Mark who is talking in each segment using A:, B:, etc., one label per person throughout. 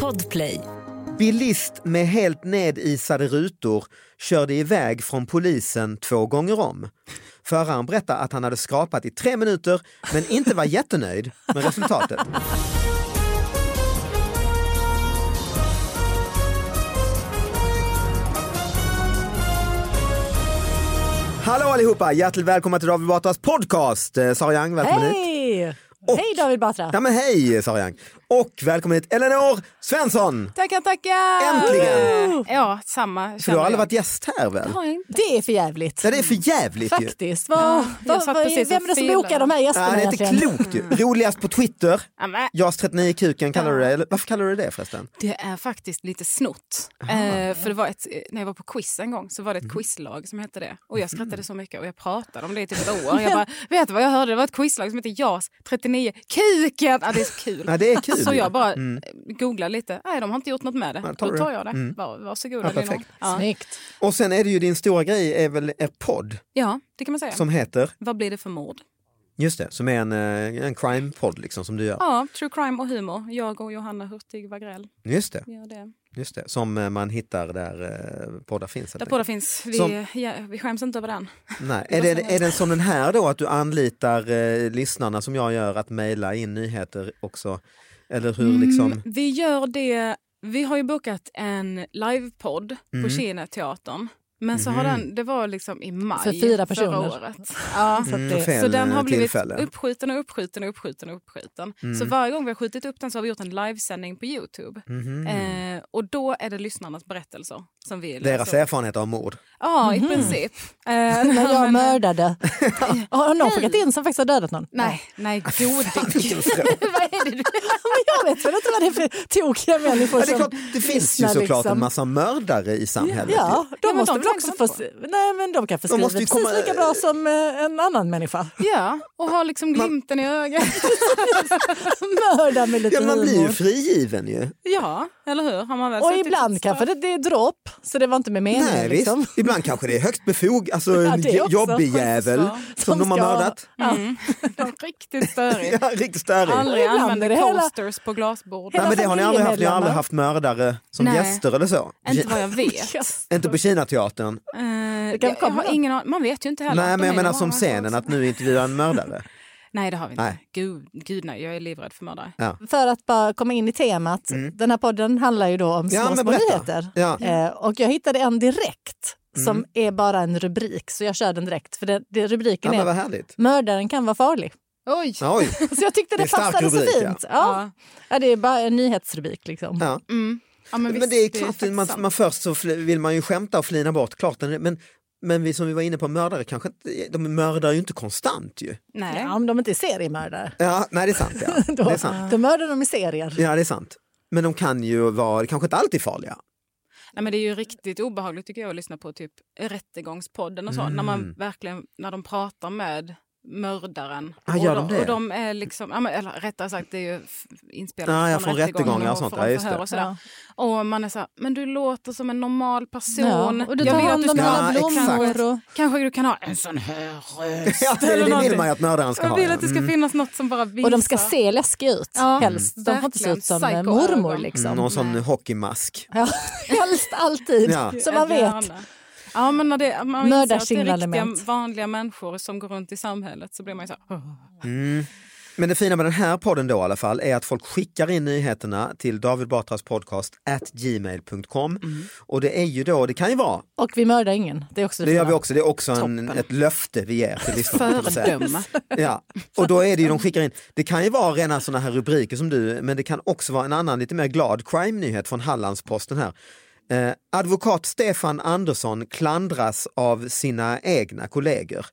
A: Podplay.
B: Bilist med helt nedisade rutor körde iväg från polisen två gånger om. Föraren berättade att han hade skrapat i tre minuter men inte var jättenöjd med resultatet. Hallå allihopa! Hjärtligt välkomna till David Batras podcast. Eh, Sara Young, välkommen hit.
C: Hej!
B: Och-
C: Hej David Batra!
B: Ja men hej Sara Young! Och välkommen hit Eleanor Svensson!
D: Tackar, tackar!
B: Äntligen!
D: Ja, samma.
B: För du har
D: känner
B: aldrig
D: jag.
B: varit gäst här väl?
C: Det är för jävligt.
B: Ja, det är för jävligt ju.
C: Faktiskt. Vad- vad-
D: satt
C: vad-
D: precis och
C: vem är det som
D: filade.
C: bokar de här gästerna
B: Ja, det är inte
C: egentligen?
B: klokt ju. Roligast på Twitter.
D: Mm. Ja, men,
B: JAS 39 Kuken kallar du det. Eller, varför kallar du det förresten?
D: det är faktiskt lite snott. Eh, för det var ett, eh, när jag var på quiz en gång så var det
B: Mm.
D: ett quizlag som hette det. Och jag skrattade så mycket och jag pratade om det i typ ett år. Jag bara, vet du vad jag hörde? Det var ett quizlag som hette JAS 39 Kuken! Ja, det är så kul.
B: Ja, det är kul.
D: Så
B: ju. Mm.
D: jag bara eh, googlade lite. Nej, de har inte gjort något med det.
B: Ja, tar
D: Då
B: du
D: tar
B: det.
D: jag det.
B: Mm.
D: Var, varsågoda
B: Ja,
D: Elinor.
B: perfekt.
D: Ja.
C: Snyggt.
B: Och sen är det ju din stora grej är väl er podd
D: ja, det kan man säga.
B: som heter,
D: Vad blir det för mord?
B: just det, som är en, eh, en crime-podd liksom som du gör.
D: Ja, true crime och humor. Jag och Johanna Hurtig Wagrell
B: Just det,
D: gör det.
B: just det. Som eh, man hittar där eh, poddar finns. helt
D: Där båda finns. Vi,
B: Som-
D: ja, vi skäms inte över den.
B: Nej. Är, det, är den som den här då, att du anlitar eh, lyssnarna som jag gör att mejla in nyheter också? Eller hur liksom?
D: Mm, vi gör det. Vi har ju bokat en livepodd på
B: Mm.
D: Kina teatern. Men så har
B: Mhm.
D: den, det var liksom i maj
C: För fyra personer.
D: förra året. Ja.
C: Så att
B: Mm,
C: det,
B: fel
D: Så den
B: eh,
D: har blivit
B: tillfälle.
D: uppskjuten och uppskjuten och uppskjuten och uppskjuten.
B: Mm.
D: Så varje gång vi har skjutit upp den så har vi gjort en livesändning på Youtube.
B: Mhm.
D: Eh, och då är det lyssnarnas berättelser som vi
B: Deras Mhm.
D: läser upp.
B: erfarenhet av mord.
D: Ja, i princip. Eh,
C: när jag
D: men-
C: mördade. Har någon skickat in som faktiskt har dödat någon?
D: Nej, nej, gode gud. Vad är det du
C: Men jag vet väl inte vad det är för tokiga människor
B: Ja, det, är
C: som...
B: klart, det finns ju
C: lyssnar,
B: såklart
C: Alltså, liksom.
B: en massa mördare i samhället.
C: Ja, de
D: Ja, men
C: måste
D: de
C: väl också
D: tänker
C: få...
D: inte
C: Nej, men de kan få skriva
B: måste ju
C: precis
B: komma-
C: lika bra som eh, en annan människa.
D: Ja, och har liksom glimten i ögat.
C: Mörda med lite
B: Ja, man blir ju
C: humor.
B: frigiven ju.
D: Ja, eller hur? Har man väl
C: Och
D: suttit
C: ibland
D: ett
C: kanske
D: straff?
C: det, det är dropp, så det var inte med meningen.
B: Nej,
C: liksom.
B: visst. Ibland kanske det är högt befog, alltså
C: Ja,
B: en
C: det också.
B: jobbig jävel som,
C: Som
B: de har
C: ska-
B: mördat.
D: Mm. Det är Riktigt störigt.
B: Ja, riktigt störig.
D: Aldrig
C: Ibland är
D: använder
C: det hela-
D: coasters på glasbord.
B: Nej, men det har ni aldrig haft, ni har
C: familjemedlemmar.
B: aldrig haft mördare som
D: Nej.
B: gäster eller så?
D: Inte vad jag vet.
C: Yes.
B: Inte på Kinateatern?
D: Eh,
C: kan
D: jag, jag
C: komma.
D: har ingen an- Man vet ju inte heller.
B: Nej,
D: De
B: men jag
D: är
B: menar
D: ju
B: som
D: bara-
B: scenen, att nu intervjua en mördare.
D: Nej, det har vi inte.
B: Nej.
D: Gud, gud nej, jag är livrädd för mördare.
C: För att bara komma in i temat, den här podden handlar ju då om små,
B: Mm. Ja, men
C: små
B: berätta.
C: nyheter.
B: Ja. Mm.
C: Eh, och jag hittade en direkt som är bara en rubrik, så jag kör den direkt. För det, det,
B: Ja,
C: rubriken
B: men vad
C: är
B: härligt.
C: “Mördaren kan vara farlig”.
D: Oj!
B: Oj,
C: Så jag tyckte
B: Det
C: det,
B: är stark
C: passade så
B: rubrik, ja.
C: fint. Ja. Ja, det är bara en nyhetsrubrik liksom.
B: ja.
D: Mm. Ja, men, visst,
B: Men det är klart,
D: faktiskt
B: man,
D: sant.
B: man först så fl- vill man ju skämta och flina bort, klart. Men, men vi som vi var inne på, mördare kanske inte, de mördar ju inte konstant ju.
D: Nej.
C: Ja, om de inte är seriemördare.
B: Ja, nej det är sant. Ja.
C: Då,
B: Det är sant.
C: då mördar de i serier.
B: Ja, det är sant. Men de kan ju vara kanske inte alltid farliga.
D: Nej, men det är ju riktigt obehagligt tycker jag att lyssna på typ Rättegångspodden och så.
B: Mm.
D: När, man verkligen, när de pratar med mördaren.
B: Ah, gör
D: och,
B: de det?
D: och de är liksom, ja, men, eller rättare sagt det är ju f- inspelat
B: Ah, ja, från
D: från
B: rättegångar och sånt.
D: från
B: Ja, just
D: förhör
B: det.
D: Och, sådär. och man är så här, men du låter som en normal person.
C: Ja, och du tar
D: vill att
C: hand om
D: ska-
B: alla
C: alla
B: Ja, exakt.
C: blommor.
B: blommor
C: Och...
D: Kanske du kan ha en sån här röst.
B: Ja, det,
D: eller
B: det vill
D: någonting.
B: man ju att mördaren ska
D: Jag
B: ha.
D: vill
B: ja.
D: att det ska
B: Mm.
D: finnas något som bara visar.
C: och de ska se läskiga ut
D: Ja,
C: helst. De får inte se
D: verkligen.
C: ut som eh,
D: Psycho-ögon.
C: mormor liksom.
B: Mm, Någon sån
D: Nej.
B: hockeymask.
C: Ja, helst alltid.
B: Ja.
C: Så man vet.
D: Gärna. Ja, men när det, man inser att det är
C: Mördarsignalement.
D: riktiga vanliga människor som går runt i samhället så blir man ju så här...
B: Mm. Men det fina med den här podden då i alla fall är att folk skickar in nyheterna till David Batras podcast at gmail.com
D: Mm.
B: och det är ju då, det kan ju vara,
C: Och vi mördar ingen. Det är också det,
B: det gör
C: fina.
B: vi också, det är också en, ett löfte vi ger till lyssnarna. kan man säga.
D: Föredöma.
B: Ja, och då är det ju de skickar in. Det kan ju vara rena sådana här rubriker som du, men det kan också vara en annan lite mer glad crime-nyhet från Hallandsposten här. Eh, advokat Stefan Andersson klandras av sina egna kollegor.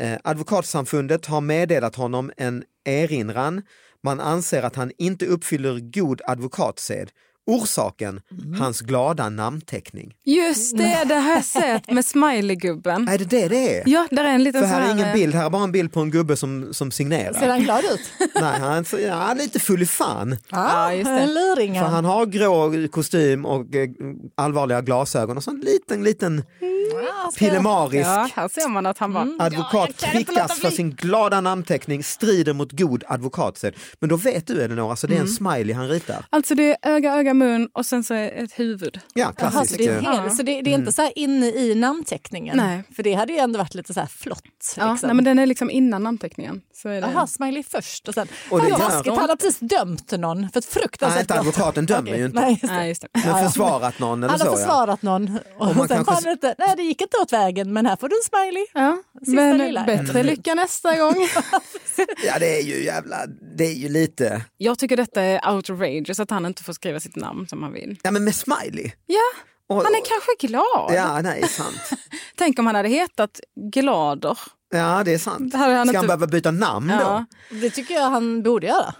B: Eh, Advokatsamfundet har meddelat honom en erinran. Man anser att han inte uppfyller god advokatsed. Orsaken, hans glada namnteckning.
D: Just det, det har jag sett med smileygubben.
B: Är det det det är?
D: Ja, där är en liten
B: För här är
D: sån eh,
B: ingen bild, här är bara en bild på en gubbe som, som
C: Ser
B: signerar.
C: han glad ut?
B: Nej, han ser ja, lite full i fan.
C: Ja,
D: just det.
C: En luring.
B: För han har grå kostym och eh, allvarliga glasögon och så en liten, liten
C: ska jag-
B: Pillemarisk.
D: Ja, här ser man att han bara...
C: Mm.
B: Advokat prickas för sin glada namnteckning, strider mot god advokatsed. Men då vet du Elinor, alltså det
C: Mm.
B: är en smiley han ritar.
D: Alltså det är öga, öga, mun och sen så är ett huvud.
B: Ja,
C: Jaha, så
B: klassiskt.
C: alltså, det är,
B: eh,
C: hel, så det, det är inte så här inne i namnteckningen?
D: Nej.
C: För det hade ju ändå varit lite så här flott.
D: Ja,
C: liksom.
D: nej, men den är liksom innan namnteckningen. Så är det.
C: Jaha, smiley först och sen...
B: Och
C: Och
B: det
C: det
B: gör-
C: taskigt, han har precis dömt någon för ett
B: Nej,
C: fruktansvärt
B: inte advokaten dömer
C: Okej,
B: ju inte.
C: nej, just det.
D: Nej, just det.
C: Ja,
B: Men
C: ja.
B: försvarat någon eller
C: Han har
B: så ja.
C: försvarat någon och,
B: man
C: sen
B: kanske-
C: var det inte, nej det gick inte åt vägen men här får du en smiley.
D: Ja,
C: Sista
D: men
C: lilla.
D: bättre lycka nästa gång.
B: Ja det är ju jävla, det är ju lite,
D: Jag tycker detta är outrageous att han inte får skriva sitt namn som han vill.
B: ja men med smiley.
D: Ja,
B: Och-
D: han är kanske glad.
B: Ja, nej, det är sant.
D: Tänk om han hade hetat Glader.
B: Ja, det är sant.
D: Det hade han
B: Ska han
D: inte-
B: behöva byta namn då?
D: Ja.
C: Det tycker jag han borde göra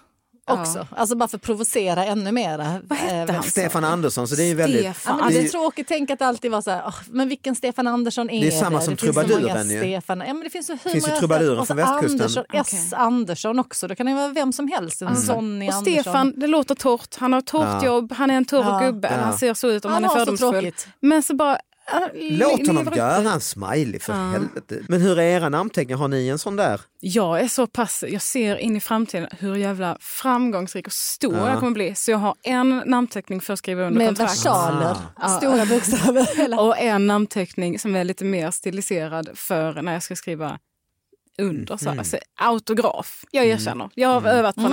D: Ja.
C: också. Alltså bara för att provocera ännu eh, mer.
D: Vad hette han?
B: Stefan Andersson, så det är ju väldigt...
D: Alltså, Stefan.
C: Ja, men
B: det är
C: det
B: ju-
C: är tråkigt, tänk att det alltid var så här, "Åh, men vilken Stefan Andersson är
B: Det är samma som
C: det finns så
B: trubaduren
C: många
B: ju.
C: Stefan. Ja, men det finns, så hur
B: Finns ju
C: många-
B: trubaduren
C: och så
B: från västkusten.
C: Andersson, S Andersson också, då kan det vara vem som helst. En Sonny
D: Och
C: Andersson.
D: Stefan, det låter torrt. Han har ett torrt
B: Ja.
D: jobb, han är en torr
C: Ja.
D: gubbe,
B: Ja.
D: han ser så ut om
C: Han
D: han, är
C: har så
D: fördomsfull.
C: tråkigt.
D: Men så bara... äh,
B: Låt
D: lever
B: honom
D: upp.
B: göra en smiley för
D: Ja.
B: helvete. Men hur är era namnteckningar? Har ni en sån där?
D: Jag är så pass, jag ser in i framtiden hur jävla framgångsrik och stor
B: Ja.
D: jag kommer bli. Så jag har en namnteckning för att skriva under
C: med
D: kontrakt.
C: versaler,
D: Ah.
C: stora bokstäver. Eller-
D: Och en namnteckning som är lite mer stiliserad för när jag ska skriva under. Så. Alltså, autograf, jag erkänner. Jag har övat på en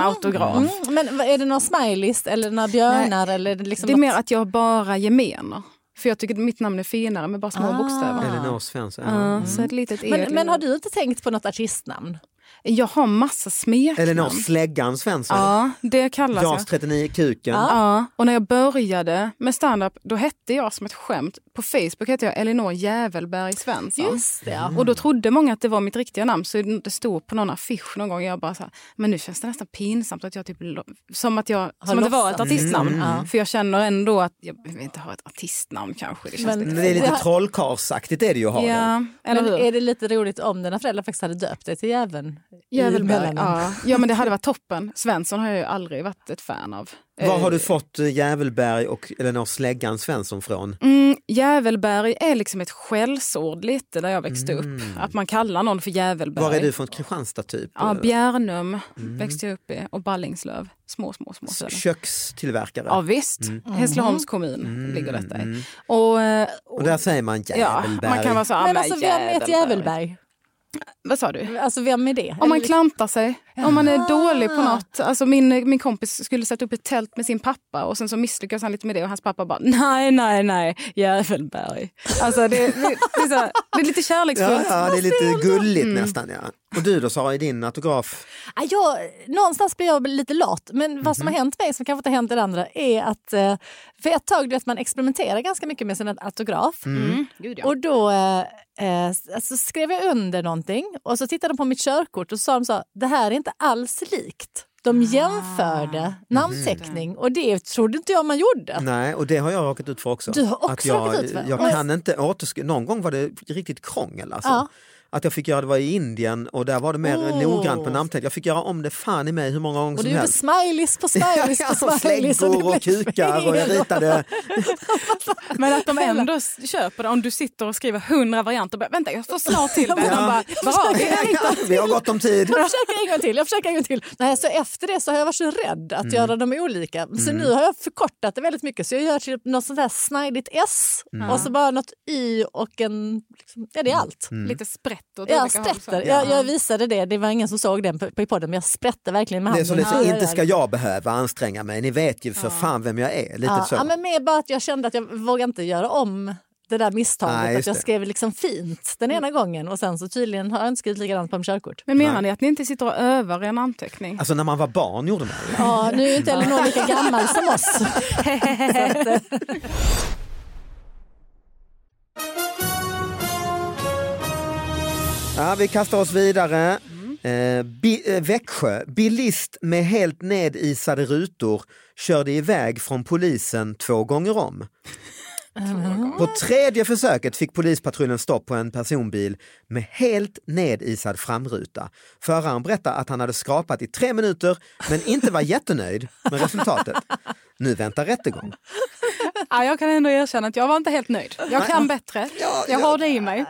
D: autograf.
C: Mm, men vad- är det några smileys eller några björnar? Eller är det liksom
D: Det är
C: något-
D: mer att jag bara gemener. För jag tycker att mitt namn är finare med bara små
C: Ah.
D: bokstäver.
C: Ja.
B: Elinor Svensson?
D: Ja,
B: Ja.
D: Så ett litet E.
C: men, men har du inte tänkt på något artistnamn?
D: Jag har massa smeknamn.
B: Elinor Släggan Svensson?
D: Ja, det kallas
B: Jas
D: jag.
B: 39 Kuken?
D: Ja, och när jag började med stand-up då hette jag som ett skämt, på Facebook hette jag Elinor Jävelberg Svensson.
C: Just det. ja.
D: Och då trodde många att det var mitt riktiga namn så det stod på någon affisch någon gång jag bara så här, men nu känns det nästan pinsamt att jag typ lo- som att jag som att det var ett
C: låtsats.
D: artistnamn
C: Mm. Ja.
D: för jag känner ändå att jag vill inte ha ett artistnamn kanske. Det känns
C: Men-
B: Men Det är
C: Det
B: lite
C: här-
B: trollkarlsaktigt är det ju att ha
D: lite,
B: det.
D: ja, eller
C: men
D: hur?
C: är det lite roligt om dina föräldrar faktiskt hade döpt dig till jäveln? i
D: Jävelberg,
C: mellannamn?
D: ja. ja men det hade varit toppen. Svensson har jag ju aldrig varit ett fan av.
B: Var
D: Eh,
B: har du fått eh, Jävelberg och Elinor Släggan Svensson från?
D: Mm, jävelberg är liksom ett skällsord lite där jag växte
C: Mm.
D: upp. Att man kallar någon för jävelberg.
B: Var är du från? Kristianstad typ?
D: Ja, Bjärnum
C: Mm.
D: växte jag upp i och Ballingslöv. Små, små, små
B: Eh,
D: städer.
B: Kökstillverkare?
D: Ja visst,
C: Mm.
D: Hässleholms kommun ligger detta i. Och, eh,
B: Och där säger man
D: ja,
B: Jävelberg?
D: man kan vara så, ah,
C: Men alltså vem är ett jävelberg?
D: Vad sa du?
C: Alltså vem är det?
D: Om man
C: Eller-
D: klantar sig, om man är dålig på något. Alltså min, min kompis skulle sätta upp ett tält med sin pappa och sen så misslyckades han lite med det och hans pappa bara nej, nej, nej, Jävelberg. Alltså det, det, det, är, så här, det är lite
B: Ja,
D: kärleksfullt.
B: ja, det är lite gulligt
D: Mm.
B: nästan. Ja. Och du då Sara, i din autograf?
C: Ah, jag, någonstans blir jag lite lat, men vad
B: Mhm.
C: som har hänt mig som kanske inte har hänt er andra är att eh, för ett tag du vet, man experimenterar ganska mycket med sin autograf.
D: Mm. Gud, ja.
C: Och då eh, eh, alltså skrev jag under någonting och så tittade de på mitt körkort och så sa de så, det här är inte alls likt.
B: Ah.
C: De jämförde
B: Mm.
C: namnteckning och det trodde inte jag man gjorde.
B: Nej, och det har jag råkat ut för också.
C: Du har också
B: att jag,
C: råkat ut för?
B: jag
C: Oj.
B: kan inte återskriva, någon gång var det riktigt krångel alltså.
C: Ja.
B: Att jag fick göra, det var i Indien och där var det mer
C: Åh.
B: noggrant på namnteckning. Jag fick göra om det fan i mig hur många gånger
C: Och du
B: som
C: gjorde
B: helst.
C: smileys på smileys
B: Ja,
C: på
B: ja,
C: smileys. det
B: släggor och
C: blev
B: kukar och jag
C: fel.
B: ritade
D: Men att de ändå s- köper det om du sitter och skriver hundra varianter. Bara, Vänta, jag får snart till det.
B: Ja.
D: De bara, "Vad?"
B: Vi har gott om tid.
C: Jag försöker en gång till. Jag försöker en gång till. Nej, så efter det så har jag varit så rädd att
B: Mm.
C: göra dem olika. Så nu har jag förkortat det väldigt mycket. Så jag gör typ något sånt här snajdigt S
B: Mm.
C: och så bara något Y och en... Liksom, ja, det är allt.
B: Mm.
D: Lite sprätt åt
C: Jag
D: olika håll, så.
C: sprätter. Jag, jag visade det. Det var ingen som såg den på, på i podden, men jag sprätte verkligen med
B: Det
C: handen.
B: är som det så,
C: Ja, ja,
B: inte
C: ja.
B: ska jag behöva anstränga mig. Ni vet ju för fan vem jag är. Lite
C: Ja,
B: så.
C: ja, men mer bara att jag kände att jag vågade inte göra om det där misstaget
B: Nej, just
C: att jag
B: det.
C: skrev liksom fint den ena gången och sen så tydligen har jag inte skrivit likadant på mitt körkort.
D: Men menar ni att ni inte sitter och övar er namnteckning?
B: Alltså när man var barn gjorde man det.
C: Ja, nu är ju inte Elinor lika gammal som oss. Så att, eh,
B: Ja, vi kastar oss vidare. Eh, Bi- eh, Växjö. Bilist med helt nedisade rutor körde iväg från polisen två gånger om. På tredje försöket fick polispatrullen stopp på en personbil med helt nedisad framruta. Föraren berättade att han hade skrapat i tre minuter men inte var jättenöjd med resultatet. Nu väntar rättegång.
D: Ja, jag kan ändå erkänna att jag var inte helt nöjd. Jag kan bättre. Jag har det i mig.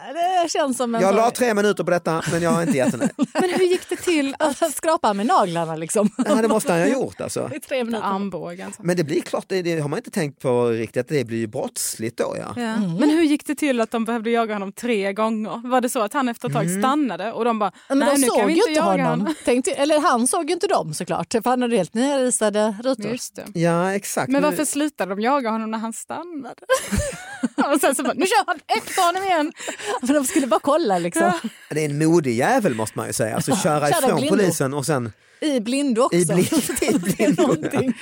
C: Det känns som en
B: Jag la
C: sån-
B: tre minuter på detta men jag är inte jättenöjd.
D: Men hur gick det till att
C: Alltså, skrapa med naglarna liksom.
B: Ja, det måste han ju ha gjort alltså.
C: I tre minuter.
D: armbågen? så?
B: Men det blir klart, det, det har man inte tänkt på riktigt, att det blir ju brottsligt då ja.
D: Ja. Mm. Men hur gick det till att de behövde jaga honom tre gånger? Var det så att han efter ett tag stannade och de bara,
C: Men
D: nej
C: de
D: nu kan
C: såg
D: vi
C: ju
D: inte
C: inte
D: jaga honom.
C: honom. Tänkte, eller han såg ju inte dem såklart, för han hade helt nyrisade rutor.
D: Just det.
B: Ja exakt.
D: Men
B: Nu-
D: varför slutade de jaga honom när han stannade? och sen så bara, nu kör han efter honom igen!
C: För de skulle bara kolla liksom.
D: Ja.
B: Det är en modig jävel måste man ju säga, alltså köra
C: Köra
B: ifrån
C: blindo.
B: polisen och sen
C: I blindo också.
B: i blind. I
C: Det är
B: blindo.
C: någonting.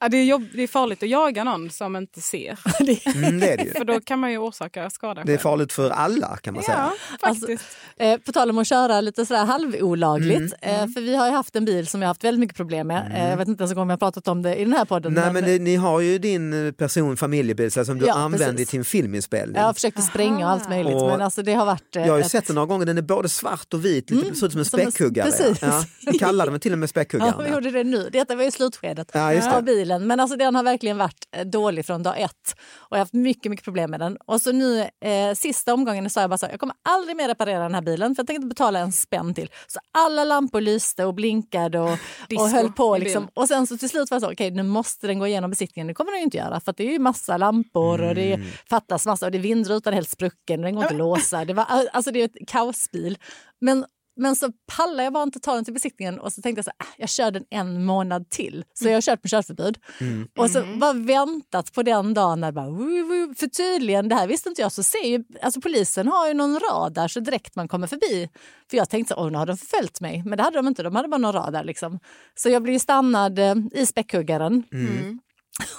D: Ja, det, är jobb, det är farligt att jaga någon som inte ser,
C: Det-
B: Mm, det är det ju.
D: för då kan man ju orsaka skada.
B: Det är
D: själv.
B: farligt för alla kan man säga.
D: Ja, faktiskt.
C: Eh, på tal om att köra lite sådär halvolagligt.
B: Mm.
C: Eh, för vi har ju haft en bil som vi har haft väldigt mycket problem med. Eh, jag vet inte ens en gång om jag har pratat om det i den här podden.
B: Nej men det, ni har ju din eh, person familjebil så här, som du
C: Ja,
B: använder
C: precis.
B: i din filminspelning.
C: jag försökte spränga och allt möjligt
B: Och-
C: men alltså det har varit... eh,
B: Jag har ju
C: ett-
B: sett den några gånger, den är både svart och vit, lite, ser ut som en
C: som en-
B: späckhuggare.
C: precis.
B: Ja, de kallade den till och med
C: Ja, vi
B: späckhuggaren.
C: gjorde det nu. Detta var ju slutskedet
B: Ja, just det.
C: av bilen. Men alltså, den har verkligen varit eh, dålig från dag ett. Och jag har haft mycket, mycket problem med den. Och så nu eh, sista omgången sa jag bara så här, jag kommer aldrig mer reparera den här bilen för jag tänkte betala en spänn till. Så alla lampor lyste och blinkade och,
D: Disco
C: och höll på.
D: i
C: Liksom.
D: bilen.
C: Och sen så till slut var jag så, okej nu måste den gå igenom besiktningen. Det kommer den ju inte göra för att det är ju massa lampor och det är- fattas massa och det är vindrutan helt sprucken och den går inte att låsa. Det, var, alltså, det är ju ett kaosbil. Men men så pallade jag bara inte ta den till besiktningen och så tänkte jag så här, "Ah, jag kör den en månad till. Så jag har kört med körförbud.
B: Mm.
C: Och så
D: Mm.
C: bara väntat på den dagen när det bara... Woo, woo. För tydligen, det här visste inte jag, så ser ju... Alltså polisen har ju någon radar så direkt man kommer förbi. För jag tänkte så åh nu har de förföljt mig. Men det hade de inte, de hade bara någon radar liksom. Så jag blev ju stannad eh, i späckhuggaren.
B: Mm.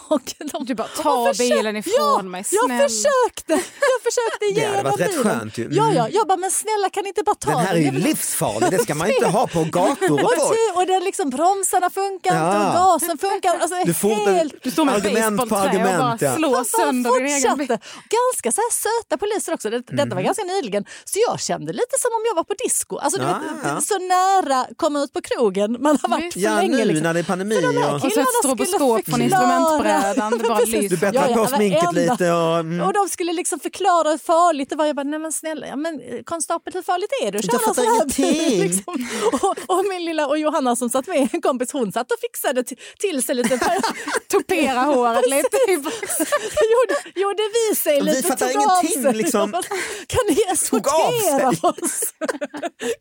C: Och de,
D: Mm. Du bara, ta
C: Och försök-
D: bilen ifrån
C: ja,
D: mig,
C: jag
D: snälla.
C: försökte! Jag försökte ge
B: Det hade
C: dem
B: varit rätt
C: bilen.
B: skönt ju. Mm.
C: Ja, ja, jag bara, men snälla kan ni inte bara ta
B: Den här är
C: den?
B: ju
C: Jag vill-
B: livsfarlig, det ska man inte ha på gator och
C: och,
B: torg.
C: ty, och den liksom, bromsarna funkar inte
B: Ja.
C: och gasen funkar alltså,
B: Du får inte-
C: helt...
D: Du står med ett
B: Argument på
D: basebollträ och bara
B: argument, ja.
D: slår
C: Han bara
D: sönder din egen bil.
C: fortsatte. Ganska så här söta poliser också. Det, Detta
B: Mhm.
C: var ganska nyligen. Så jag kände lite som om jag var på disco. Alltså, du
B: Ja,
C: vet,
B: ja.
C: Så nära komma ut på krogen man har varit
D: Visst.
C: för
B: Ja
C: länge.
B: nu
C: Liksom.
B: när det är pandemi.
C: För de här
B: Och...
D: Och så ett
C: Killarna skulle
D: stroboskop från
C: förklara.
D: instrumentbrädan. Det bara
C: Precis.
B: Du
D: lyser.
C: Ja,
B: bättrar
C: ja,
B: på sminket
C: varenda.
B: lite och... Mm.
C: Och de skulle liksom förklara hur farligt det var. Jag bara, nej men snälla, ja, men, eh, konstapel hur farligt är det att
B: Jag
C: köra en
B: fattar
C: sån här
B: ingenting.
C: bil? Liksom. Och, och min lilla och Johanna som satt med, en kompis, hon satt och fixade t- till sig lite.
D: Topera håret lite.
C: gjorde, gjorde vi sig
B: Vi
C: lite.
B: fattar
C: tog av
B: ingenting,
C: sig.
B: liksom.
C: Kan ni
B: Tog av
C: eskortera oss?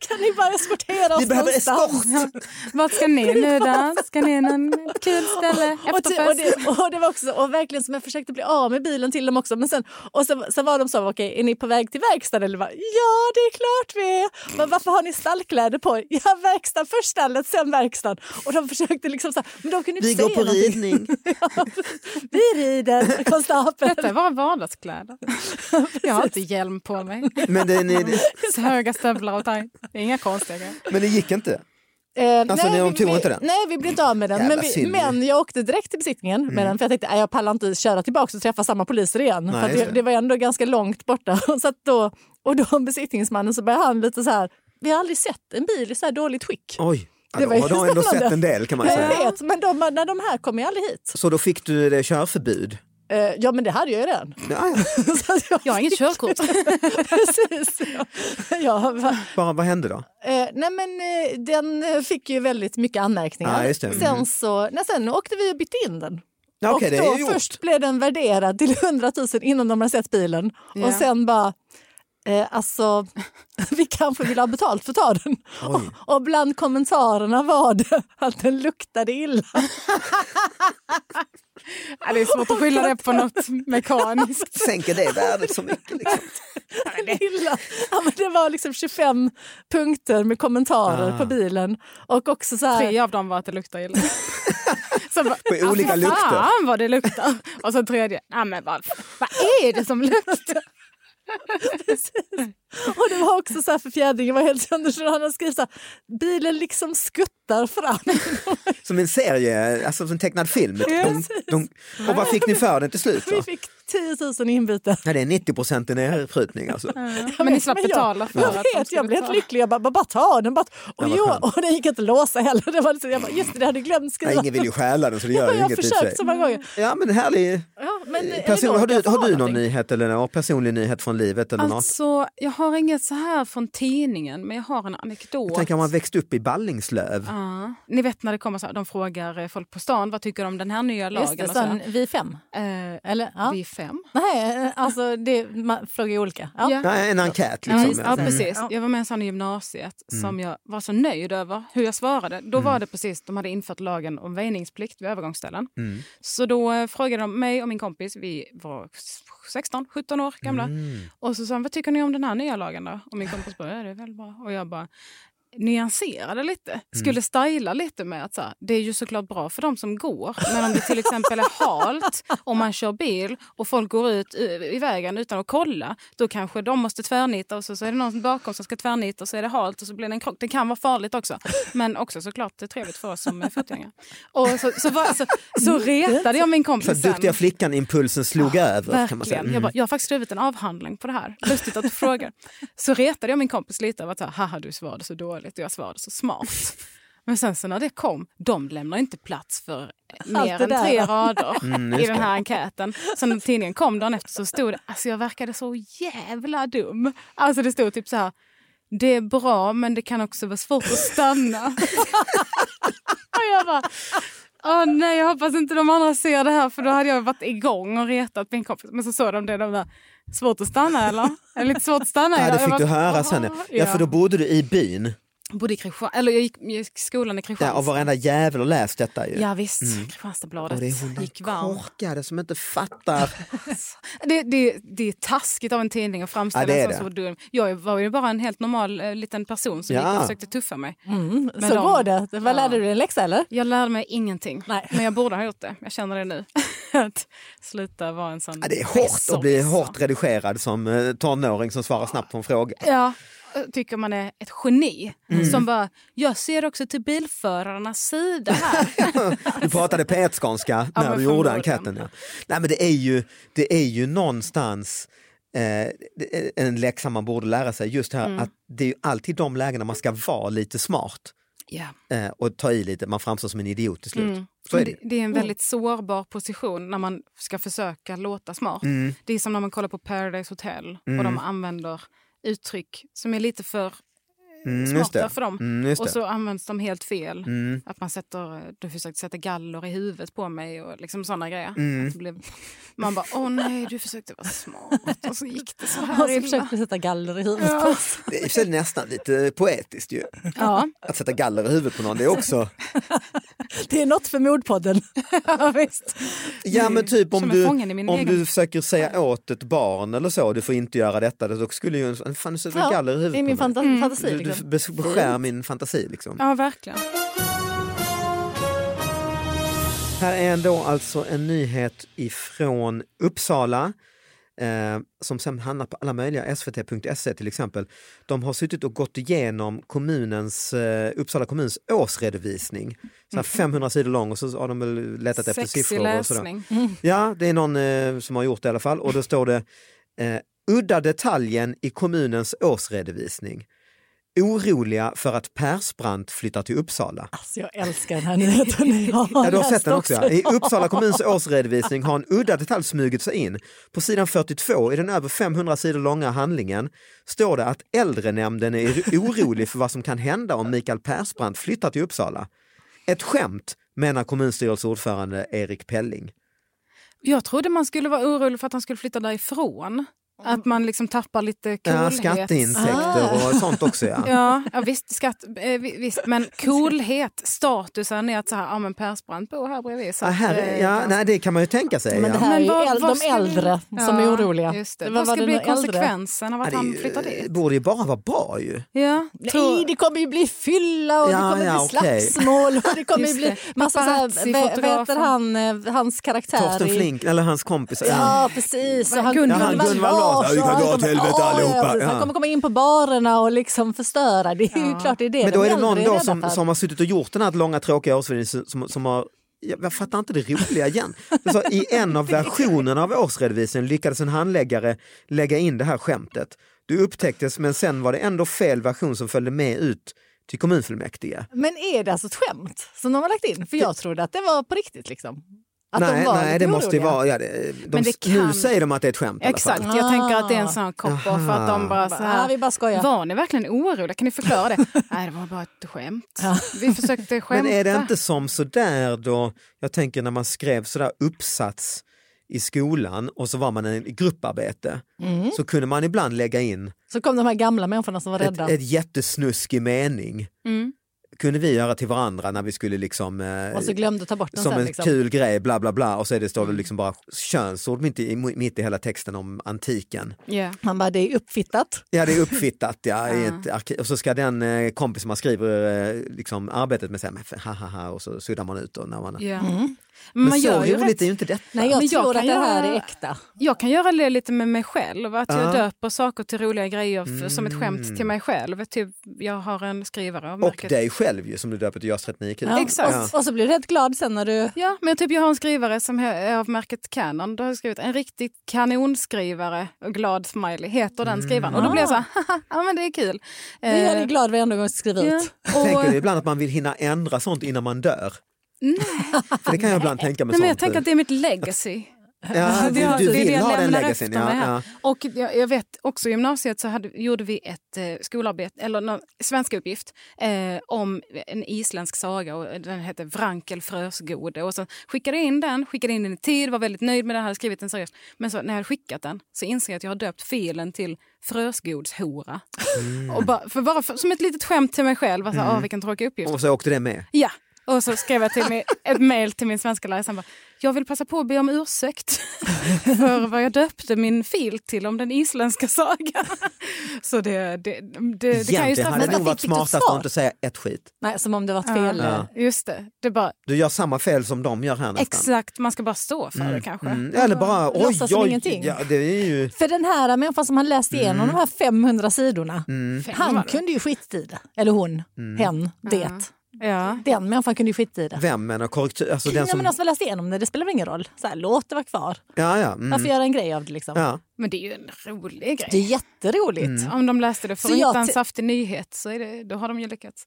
C: kan ni bara eskortera oss
B: Vi behöver
C: någonstans?
B: eskort.
D: Vart ska ni nu då? Ska ni någon kul ställe?
C: Och, ty- och,
D: Efterfest?
C: det, och det var också, och verkligen som jag försökte bli av med bilen till dem också. Men sen, och sen, sen var de så, okej är ni på väg till verkstaden? Eller bara, ja det är klart vi är. Men varför har ni stallkläder på er? Ja verkstaden, först stallet, sen verkstaden. Och de försökte liksom så här, men de kunde inte
B: Vi går
C: säga
B: på
C: någonting.
B: ridning.
C: Vi rider, konstapeln.
D: Detta är våra vardagskläder. Jag har inte hjälm på mig.
B: Men det, ni, det,
D: Så höga stövlar och tajt. Det är inga konstiga grejer.
B: men det gick inte.
C: Eh,
B: Alltså, ni- de
C: vi-
B: tog
C: vi,
B: inte den?
C: Nej, vi blev inte av med den.
B: Jävla
C: Men, vi,
B: synd.
C: men jag åkte direkt till besiktningen med den för jag tänkte att jag pallar inte köra tillbaka och träffa samma poliser igen.
B: Nej,
C: för att
B: just
C: det,
B: det.
C: det var ändå ganska långt borta. Så att då, och då besiktningsmannen så började han lite så här, vi har aldrig sett en bil i så här dåligt skick.
B: Oj, ja,
C: Det
B: då
C: var ju
B: har du ändå
C: spännande.
B: sett en del kan man
C: jag
B: säga.
C: vet, men de, när de här kommer ju aldrig hit.
B: Så då fick du det körförbud?
C: Eh, ja, men det hade jag ju redan.
B: Ja, ja.
C: Så att jag,
D: Jag har inget körkort.
C: precis. Ja, va-
B: Bara, vad hände då?
C: Eh, nej men eh, den eh, fick ju väldigt mycket anmärkningar.
B: Ja, just det. Mm.
C: Sen, så, nej, sen åkte vi och bytte in den.
B: Ja, okej, det
C: och då
B: är ju gjort.
C: först blev den värderad till 100 000 innan de hade sett bilen.
D: Ja.
C: Och sen bara, eh, alltså vi kanske vill ha betalt för att ta den.
B: Oj.
C: Och, och bland kommentarerna var det att den luktade illa.
D: Ja, det är svårt att skylla det på något mekaniskt.
B: Sänker det värdet så mycket? Liksom.
C: illa. Ja, men det var liksom 25 punkter med kommentarer
B: Ah.
C: på bilen. Och också så här,
D: Tre av dem var att det luktar illa. Så bara,
B: På olika
D: alltså,
B: lukter.
D: Fan vad det luktar. Och så tredje, nej men vad, vad är det som luktar?
C: Och det var också så här för fjädringen var helt sönder så han hade skrivit så här, bilen liksom skuttar fram.
B: Som en serie, alltså som en tecknad film. De, de, och vad fick ni för den till slut
C: Vi
B: då?
C: fick 10 000 inbyten.
B: Ja, det är 90 procent nerprutning alltså.
D: Men ni slapp
C: Men jag-
D: betala för
C: Jag
D: att de
C: vet,
D: skulle
C: jag blev
D: ta.
C: helt lycklig. Jag bara, bara, bara ta den. Bara, och,
B: Ja, vad
C: jo,
B: skönt.
C: och den gick inte att låsa heller. Det var liksom, jag bara, just det, det hade jag glömt skriva.
B: Nej, ingen vill ju stjäla den så det
C: jag
B: gör
C: bara,
B: ju
C: jag har
B: inget i och för
C: försökt
B: sig.
C: så många gånger.
B: Ja men härlig,
C: Ja, Men, är det
B: Person,
C: någon
B: har, du,
C: jag får
B: har du någon
C: någonting?
B: nyhet eller någon personlig nyhet från livet eller något?
D: Alltså, jag har inget så här från tidningen, men jag har en anekdot.
B: Tänk om man växt upp i Ballingslöv.
D: Ja. Ni vet när det kommer så här, de frågar eh, folk på stan vad tycker de om den här nya
C: Just
D: lagen?
C: det,
D: och så här.
C: sen, vi fem?
D: Eh,
C: Eller? Ja.
D: Vi är fem.
C: Nej, alltså det, man frågar ju olika. Ja.
D: Ja.
B: Nej, en enkät
D: Ja,
B: liksom.
D: just, ja, precis. Jag var med i en sån i gymnasiet som jag var så nöjd över hur jag svarade. Då var det precis, de hade infört lagen om väjningsplikt vid övergångsställen.
B: Mm.
D: Så då eh, frågade de mig och min kompis, vi var 16, 17 år gamla. Och så sa de, vad tycker ni om den här nya lagen då? Och min kompis bara, ja, det är väl bra. Och jag bara, nyanserade
B: Mm.
D: lite, skulle styla lite med att så här, det är ju såklart bra för de som går, men om det till exempel är halt om man kör bil och folk går ut i i vägen utan att kolla, då kanske de måste tvärnita och så, så är det någon bakom som ska tvärnita och så är det halt och så blir det en krock. Det kan vara farligt också, men också såklart det är trevligt för oss som är fotgängare. Och så, så, var, så, så retade jag min
B: Mm. Så
D: kompis
B: duktiga flickan-impulsen slog över kan man säga. Mm.
D: Verkligen. Jag, bara, jag har faktiskt skrivit en avhandling på det här. Lustigt att du frågar. Så retade jag min kompis lite över att så här, haha du svarade så dåligt och jag svarade så smart. Men sen så när det kom, de lämnar inte plats för mer
C: det
D: än
C: där.
D: tre rader
B: Mm,
D: i
B: just
D: den här enkäten. Så när tidningen kom dagen efter så stod det, alltså jag verkade så jävla dum. Alltså det stod typ så här, det är bra men det kan också vara svårt att stanna. och jag bara, Åh nej, jag hoppas inte de andra ser det här för då hade jag varit igång och retat min kompis. Men så såg de det, de där, svårt att stanna eller? Är det lite svårt att stanna
B: Ja,
D: idag?
B: det
D: Jag
B: fick
D: bara,
B: du höra
D: "Åh,
B: sen. Ja.
D: Ja,
B: Ja, för då bodde du i byn.
D: Bodde i Kristianstad, eller jag gick, jag gick i
B: Ja,
D: skolan i
B: och
D: Kristianstad.
B: varenda jävel har läst detta ju.
D: Ja, visst,
B: Och
D: Kristianstadsbladet
B: det är hon den
D: gick varmt.
B: korkade som inte fattar.
D: Det, det, det är taskigt av en tidning att
B: Ja,
D: framställa
B: det är
D: en sån
B: det.
D: som dum. Jag var ju bara en helt normal eh, liten person som
B: Ja.
D: gick och försökte tuffa mig.
C: Mm, så
D: Men de-
C: går det. Vad
D: Ja.
C: lärde du dig en läxa eller?
D: Jag lärde mig ingenting,
C: Nej.
D: men jag borde ha gjort det. Jag känner det nu. att sluta vara en sån...
B: Ja, det är hårt att bli hårt redigerad som eh, tonåring som svarar snabbt på en fråga.
D: Ja, tycker man är ett geni
B: Mm.
D: som bara, jag ser också till bilförarnas sida här.
B: Du pratade P1-skånska
D: Ja,
B: när
D: men
B: du gjorde
D: förmodligen.
B: enkäten. Ja. Nej, men det, är ju, det är ju någonstans eh, det är en läxa man borde lära sig. Just det här
D: Mm.
B: att det är ju alltid de lägena man ska vara lite smart
D: ja.
B: eh, och ta i lite. Man framstår som en idiot till slut.
D: Mm.
B: Så är det
D: det,
B: ju.
D: det är en väldigt sårbar position när man ska försöka låta smart.
B: Mm.
D: Det är som när man kollar på Paradise Hotel och de använder uttryck som är lite för
B: Mm, just
D: smarta
B: det.
D: för dem.
B: Mm, just
D: och
B: det.
D: så används de helt fel.
B: Mm.
D: Att man sätter, du försökte sätta galler i huvudet på mig och liksom sådana grejer.
B: Mm.
D: Att det blev, man bara, åh nej, du försökte vara smart och så gick det så
C: Och
D: här
C: så
D: illa.
C: försökte sätta galler i huvudet.
D: Ja.
B: Det är i och för sig nästan lite poetiskt ju.
D: Ja.
B: Att sätta galler i huvudet på någon, det är också...
C: Det är något för Mordpodden.
D: ja, visst.
B: Ja men typ om
D: Som en
B: du,
D: fången i min
B: om
D: egen-
B: du försöker säga åt ett barn eller så, du får inte göra detta, då skulle ju en... Fan, du sätter
C: Ja,
B: galler i
C: Det är
B: huvudet
C: min
B: på mig.
C: fanta- fantasi.
B: Du, du
C: Liksom.
B: bes- beskär min fantasi liksom.
D: ja, verkligen.
B: Här är ändå alltså en nyhet ifrån Uppsala eh, som sen hamnar på alla möjliga svt.se E till exempel. De har suttit och gått igenom kommunens, eh, Uppsala kommuns årsredovisning. Så här 500 sidor lång och så har de väl letat efter
D: Sexig
B: siffror. Och sådär. Mm.
D: läsning.
B: Ja, det är någon eh, som har gjort det i alla fall och då står det eh, udda detaljen i kommunens årsredovisning. Oroliga för att Persbrandt flyttar till Uppsala.
C: Alltså, jag älskar den här nyheten. Jag
B: Ja,
C: har
B: du har
C: läst
B: sett den också. ja. I Uppsala kommuns årsredovisning har en udda detalj smugit sig in. På sidan 42 i den över 500 sidor långa handlingen står det att äldrenämnden är orolig för vad som kan hända om Mikael Persbrandt flyttar till Uppsala. Ett skämt menar kommunstyrelseordförande Erik Pelling.
D: Jag trodde man skulle vara orolig för att han skulle flytta därifrån.
C: Mm.
D: Att man liksom tappar lite
B: Ja,
D: coolhet.
B: skatteintäkter och sånt också ja.
D: Ja, ja visst, skatt, eh, vi- visst, men coolhet, statusen är att så här, ja men Persbrandt bor här bredvid. Så
B: Ah, här,
D: att, eh,
B: ja, nej, det kan man ju tänka sig.
C: Men det
B: ja.
C: här är ju
D: Men vad-
C: äl-
D: vad
C: de
D: ska vi-
C: äldre som är
D: ja,
C: oroliga.
D: Just det.
C: Vad
D: Vad
C: var
D: ska
C: det
D: bli
C: nu, äldre?
D: konsekvensen av
B: Ja,
D: att
B: det är
D: han
B: ju-
D: flyttar dit?
B: borde ju bara vara bra ju.
D: Ja,
C: Nej, det kommer ju bli fylla och
B: Ja,
C: det kommer
B: ja,
C: bli
B: okej.
C: slagsmål och det kommer ju
D: Just
C: bli
D: det.
C: massa så här,
D: Paparazzi,
C: vad vad heter
D: fotografen.
C: han, eh, hans karaktär
B: Torsten
C: i-
B: Flink eller hans kompis.
C: Ja, precis. Och han,
D: Gunvald- Ja, han
B: Gunvald Larsson. Ja, vi kan
C: Han
B: gå åt
C: kommer-
B: helvete
C: Ja,
B: allihopa.
C: ja, precis.
B: Ja.
C: Han kommer komma in på barerna och liksom förstöra. Det är ju
D: Ja.
C: klart det är det
B: Men då
C: de
B: är det
C: äldre
B: någon då
C: rädda
B: som,
C: för.
B: som har suttit och gjort den här långa tråkiga årsredovisningen som, som har jag, jag fattar inte det roliga igen. Det sa, I en av versionerna av årsredovisningen lyckades en handläggare lägga in det här skämtet. Det upptäcktes men sen var det ändå fel version som följde med ut till kommunfullmäktige.
C: Men är det alltså ett skämt som de har lagt in? För jag trodde att det var på riktigt. Liksom. Att
B: nej,
C: de var
B: nej
C: lite
B: det måste ju
C: oroliga.
B: vara... Ja, det, de,
D: Men det kan-
B: Nu säger de att det är ett skämt i alla fall.
D: Exakt, jag tänker att det är en sån här cop för att
B: Aha.
D: de bara så
C: Ja,
D: här,
C: vi bara skojar.
D: Var ni verkligen oroliga? Kan ni förklara det? Nej, det var bara ett skämt. Vi försökte skämta.
B: Men är det inte som sådär då, jag tänker när man skrev sådär uppsats i skolan och så var man i ett grupparbete
D: Mm.
B: så kunde man ibland lägga in
C: Så kom de här gamla människorna som var
B: ett,
C: rädda.
B: ett jättesnuskig mening
D: Mm.
B: kunde vi göra till varandra när vi skulle liksom eh,
C: och så glömde ta bort den
B: som
C: sen.
B: en
C: Liksom.
B: kul grej bla bla bla och så är det,
D: Mm.
B: står det liksom bara könsord mitt i, mitt i hela texten om antiken.
D: Ja.
C: Han bara, det är uppfittat.
B: Ja det är uppfittat ja, i
D: Ja.
B: ett arkiv och så ska den eh, kompis som man skriver eh, liksom, arbetet med säga men f- ha ha ha och så suddar man ut då när man
D: Ja.
B: Men,
D: Men man
B: så
D: gör ju
B: roligt
D: rätt.
B: är ju inte detta.
C: Nej, jag
D: Men jag
C: tror
D: kan
C: att det här
D: göra-
C: är äkta.
D: Jag kan göra det lite med mig själv, att
B: Ja.
D: jag döper saker till roliga grejer f- som ett
B: Mm.
D: skämt till mig själv. Typ, jag har en skrivare av
B: Och
D: märket.
B: dig själv ju som du döper till JAS 39 Kul.
C: Ja.
D: Exakt.
C: Och, och så blir du rätt glad sen när du...
D: Ja, men typ jag har en skrivare som he- är av märket Canon. Då har jag skrivit en riktig kanonskrivare och glad smiley heter den skrivaren. Och då blir jag så här, "Haha, ja men det är kul. Eh,
C: Det gör dig glad varenda gång du skriver
D: Ja.
C: ut.
D: Och,
B: Tänker du ibland att man vill hinna ändra sånt innan man dör? Nej. För det kan jag ibland tänka med
D: nej, men jag
B: sånt.
D: tänker att det är mitt legacy.
B: ja,
D: Det har-
B: du, du
D: det är det
B: vill
D: jag
B: ha den
D: lämnar
B: legacyn.
D: efter
B: Ja,
D: mig här.
B: ja.
D: Och jag, jag vet också i gymnasiet så hade, gjorde vi ett eh, skolarbete, eller någon svenska uppgift eh, om en isländsk saga och den hette Vrankel Frösgode. Och så skickade jag in den, skickade in den i tid, var väldigt nöjd med den, hade skrivit den seriöst. Men så, när jag hade skickat den så inser jag att jag har döpt filen till Frösgodshora.
B: Mm.
D: Och bara, för, bara för, som ett litet skämt till mig själv, bara så, här, "Åh, vilken tråkig uppgift.
B: Och så åkte det med.
D: Ja, och så skrev jag till min, ett mejl till min svenska lärare. Sen bara, jag vill passa på att be om ursäkt för vad jag döpte min fil till om den isländska sagan. Så det, det, det, det kan ju
B: Egentligen hade
D: straffas.
B: det
C: Men
B: nog varit
C: fick du ett
B: smartast
C: svar?
B: att inte säga ett skit.
C: Nej, som om det var ett fel.
B: Ja.
D: Just det, det är bara,
B: Du gör samma fel som de gör här nästan.
D: exakt, man ska bara stå för det kanske.
B: Mm, Eller bara oj,
C: Låtsas som
B: oj,
C: ingenting.
B: ja, det är ju...
C: För den här människan som han läste igenom
B: Mm.
C: de här 500 sidorna,
D: Fem var
C: han
D: det.
C: kunde ju skit i det. Eller hon,
B: Mm.
C: hen, det.
D: Ja.
C: Den människan kunde ju skit i det.
B: Vem menar korrektur? Alltså den
C: Ja,
B: som...
C: men de som har läst igenom det, det spelar väl ingen roll. Så här, låt det vara kvar.
B: Ja, ja. Mm.
C: Varför göra en grej av det? Liksom?
B: ja. Mm.
D: Men det är ju en rolig
C: Det är
D: grej.
C: jätteroligt.
D: Om de läste det för
C: Så
D: att
C: jag
D: hitta en
C: t-
D: saftig nyhet så är det, då har de ju lyckats.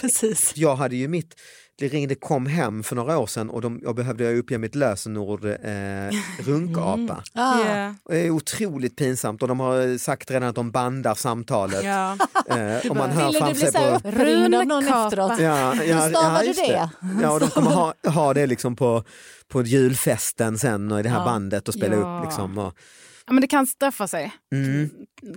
C: Precis.
B: Jag hade ju mitt, det ringde kom hem för några år sedan och de, jag behövde uppge mitt lösenord eh, runkapa.
C: Ah.
D: Ja.
B: Det är otroligt pinsamt och de har sagt redan att de bandar samtalet.
D: Ja.
B: Eh, och man hör
C: Ville du
B: framför
C: bli
B: sig
C: så här
B: på...
C: uppringd av någon
D: Runkapa.
C: efteråt?
B: Ja, ja,
C: Hur stavar
B: ja,
C: du
B: just
C: det?
B: Ja, och de kommer ha, ha det liksom på, på julfesten sen och i det här
C: Ja.
B: bandet och spela
D: Ja.
B: upp. Liksom och,
D: ja, men det kan straffa sig.
B: mm,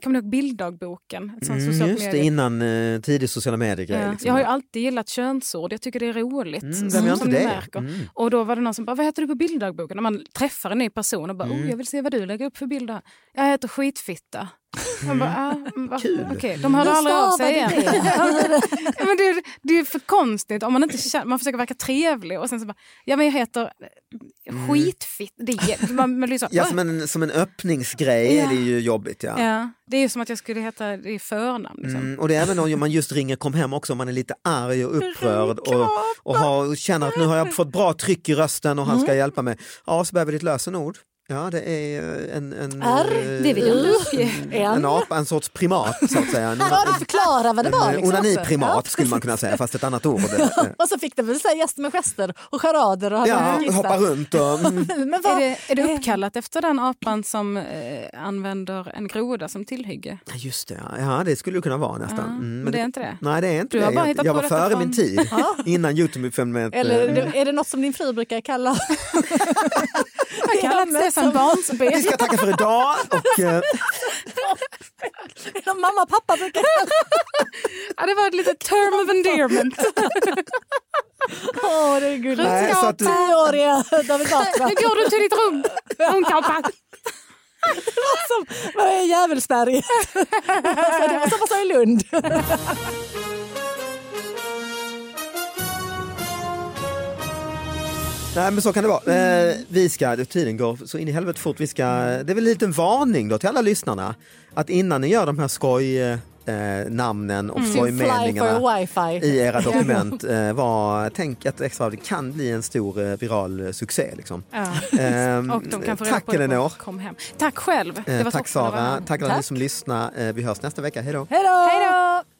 D: Kommer du ihåg bilddagboken? Ett sånt
B: mm,
D: socialt
B: just det,
D: medie-
B: innan eh, tidig sociala medier-grej.
D: Ja,
B: liksom.
D: Jag har ju alltid gillat könsord, jag tycker det är roligt.
B: mm,
D: som
B: vem gör
D: som
B: inte
D: ni
B: det?
D: märker.
B: Mm.
D: Och då var det någon som bara, vad heter du på bilddagboken? När man träffar en ny person och bara,
B: Mm.
D: oh, jag vill se vad du lägger upp för bilder. här." Jag heter skitfitta. Man bara, ah, va?
B: Mm. Kul.
D: Okej, de hörde
C: Hur
D: aldrig av sig igen.
C: stavar du det?
D: Ja, Men det, är- det är för konstigt om man inte känner, man försöker verka trevlig och sen så bara, ja men jag heter skitfitta. Det är, man, man blir så,
B: Mm.
D: "Ah."
B: Ja, som en, som en öppningsgrej är det ju jobbigt. Ja.
D: ja, det är ju som att jag skulle heta det i förnamn. Liksom.
B: Mm, och det är även om man just ringer kom hem också om man är lite arg och upprörd och, och, har, och känner att nu har jag fått bra tryck i rösten och han ska hjälpa mig. Ja, så behöver ditt lösenord. Ja, det är eh, en, en,
C: R,
B: eh,
C: det vill jag inte
B: en,
C: uppge.
B: en apa, en sorts primat så att säga. En,
C: Ja, du förklarar vad det var.
B: en, en
C: Liksom,
B: onaniprimat
C: också.
B: skulle man kunna säga, fast ett annat ord.
C: Ja. Och så fick de väl så här gäster med gester och charader. Och hade
B: Ja,
C: en lista.
B: hoppa runt och... Mm.
C: Men vad,
D: Är det, är det uppkallat efter den apan som eh, använder en groda som tillhygge?
B: Ja, Just det, ja. ja det skulle det kunna vara nästan.
D: Ja,
B: Mm,
D: men det är inte det.
B: Nej, det är inte
D: Du har
B: det.
D: bara
B: Jag,
D: hittat
B: jag
D: på
B: var
D: detta
B: före
D: från-
B: min tid, innan Youtube-fenomenet.
C: eller
B: Mm.
C: är det något som din fru brukar kalla?
D: Jag kallar det för en barnsben.
B: Vi ska tacka för idag och eh,
C: Mamma och pappa brukar kalla
D: Ja, det var ett litet term of endearment.
C: Åh, det är
B: Nej, så
C: gulligt.
B: att du-
C: Tioåriga David Batra.
D: Nu går du till ditt rum, ungkappa.
C: Vad är Djävulsberg? Alltså, det var som man sa i Lund.
B: Nej men så kan det vara. Eh,
D: Mm.
B: vi ska, tiden går så in i helvete fort. Vi ska, det är väl en liten varning då till alla lyssnarna. Att innan ni gör de här skoj eh, namnen
D: Mm.
B: och
C: Fly
B: skojmeningarna
C: for wifi.
B: i era dokument, eh, var, tänk att extra det kan bli en stor eh, viral eh, succé. Liksom.
D: Ja.
B: Ehm,
D: Och de kan få reda
B: tack
D: på det på
B: Elinor,
D: Kom hem. Tack själv. Det
B: eh,
D: var
B: tack
D: toppen att vara
B: Sara,
D: här.
B: tack alla ni som lyssnar. Eh, vi hörs nästa vecka, hej då!
C: Hej då!
D: Hej då!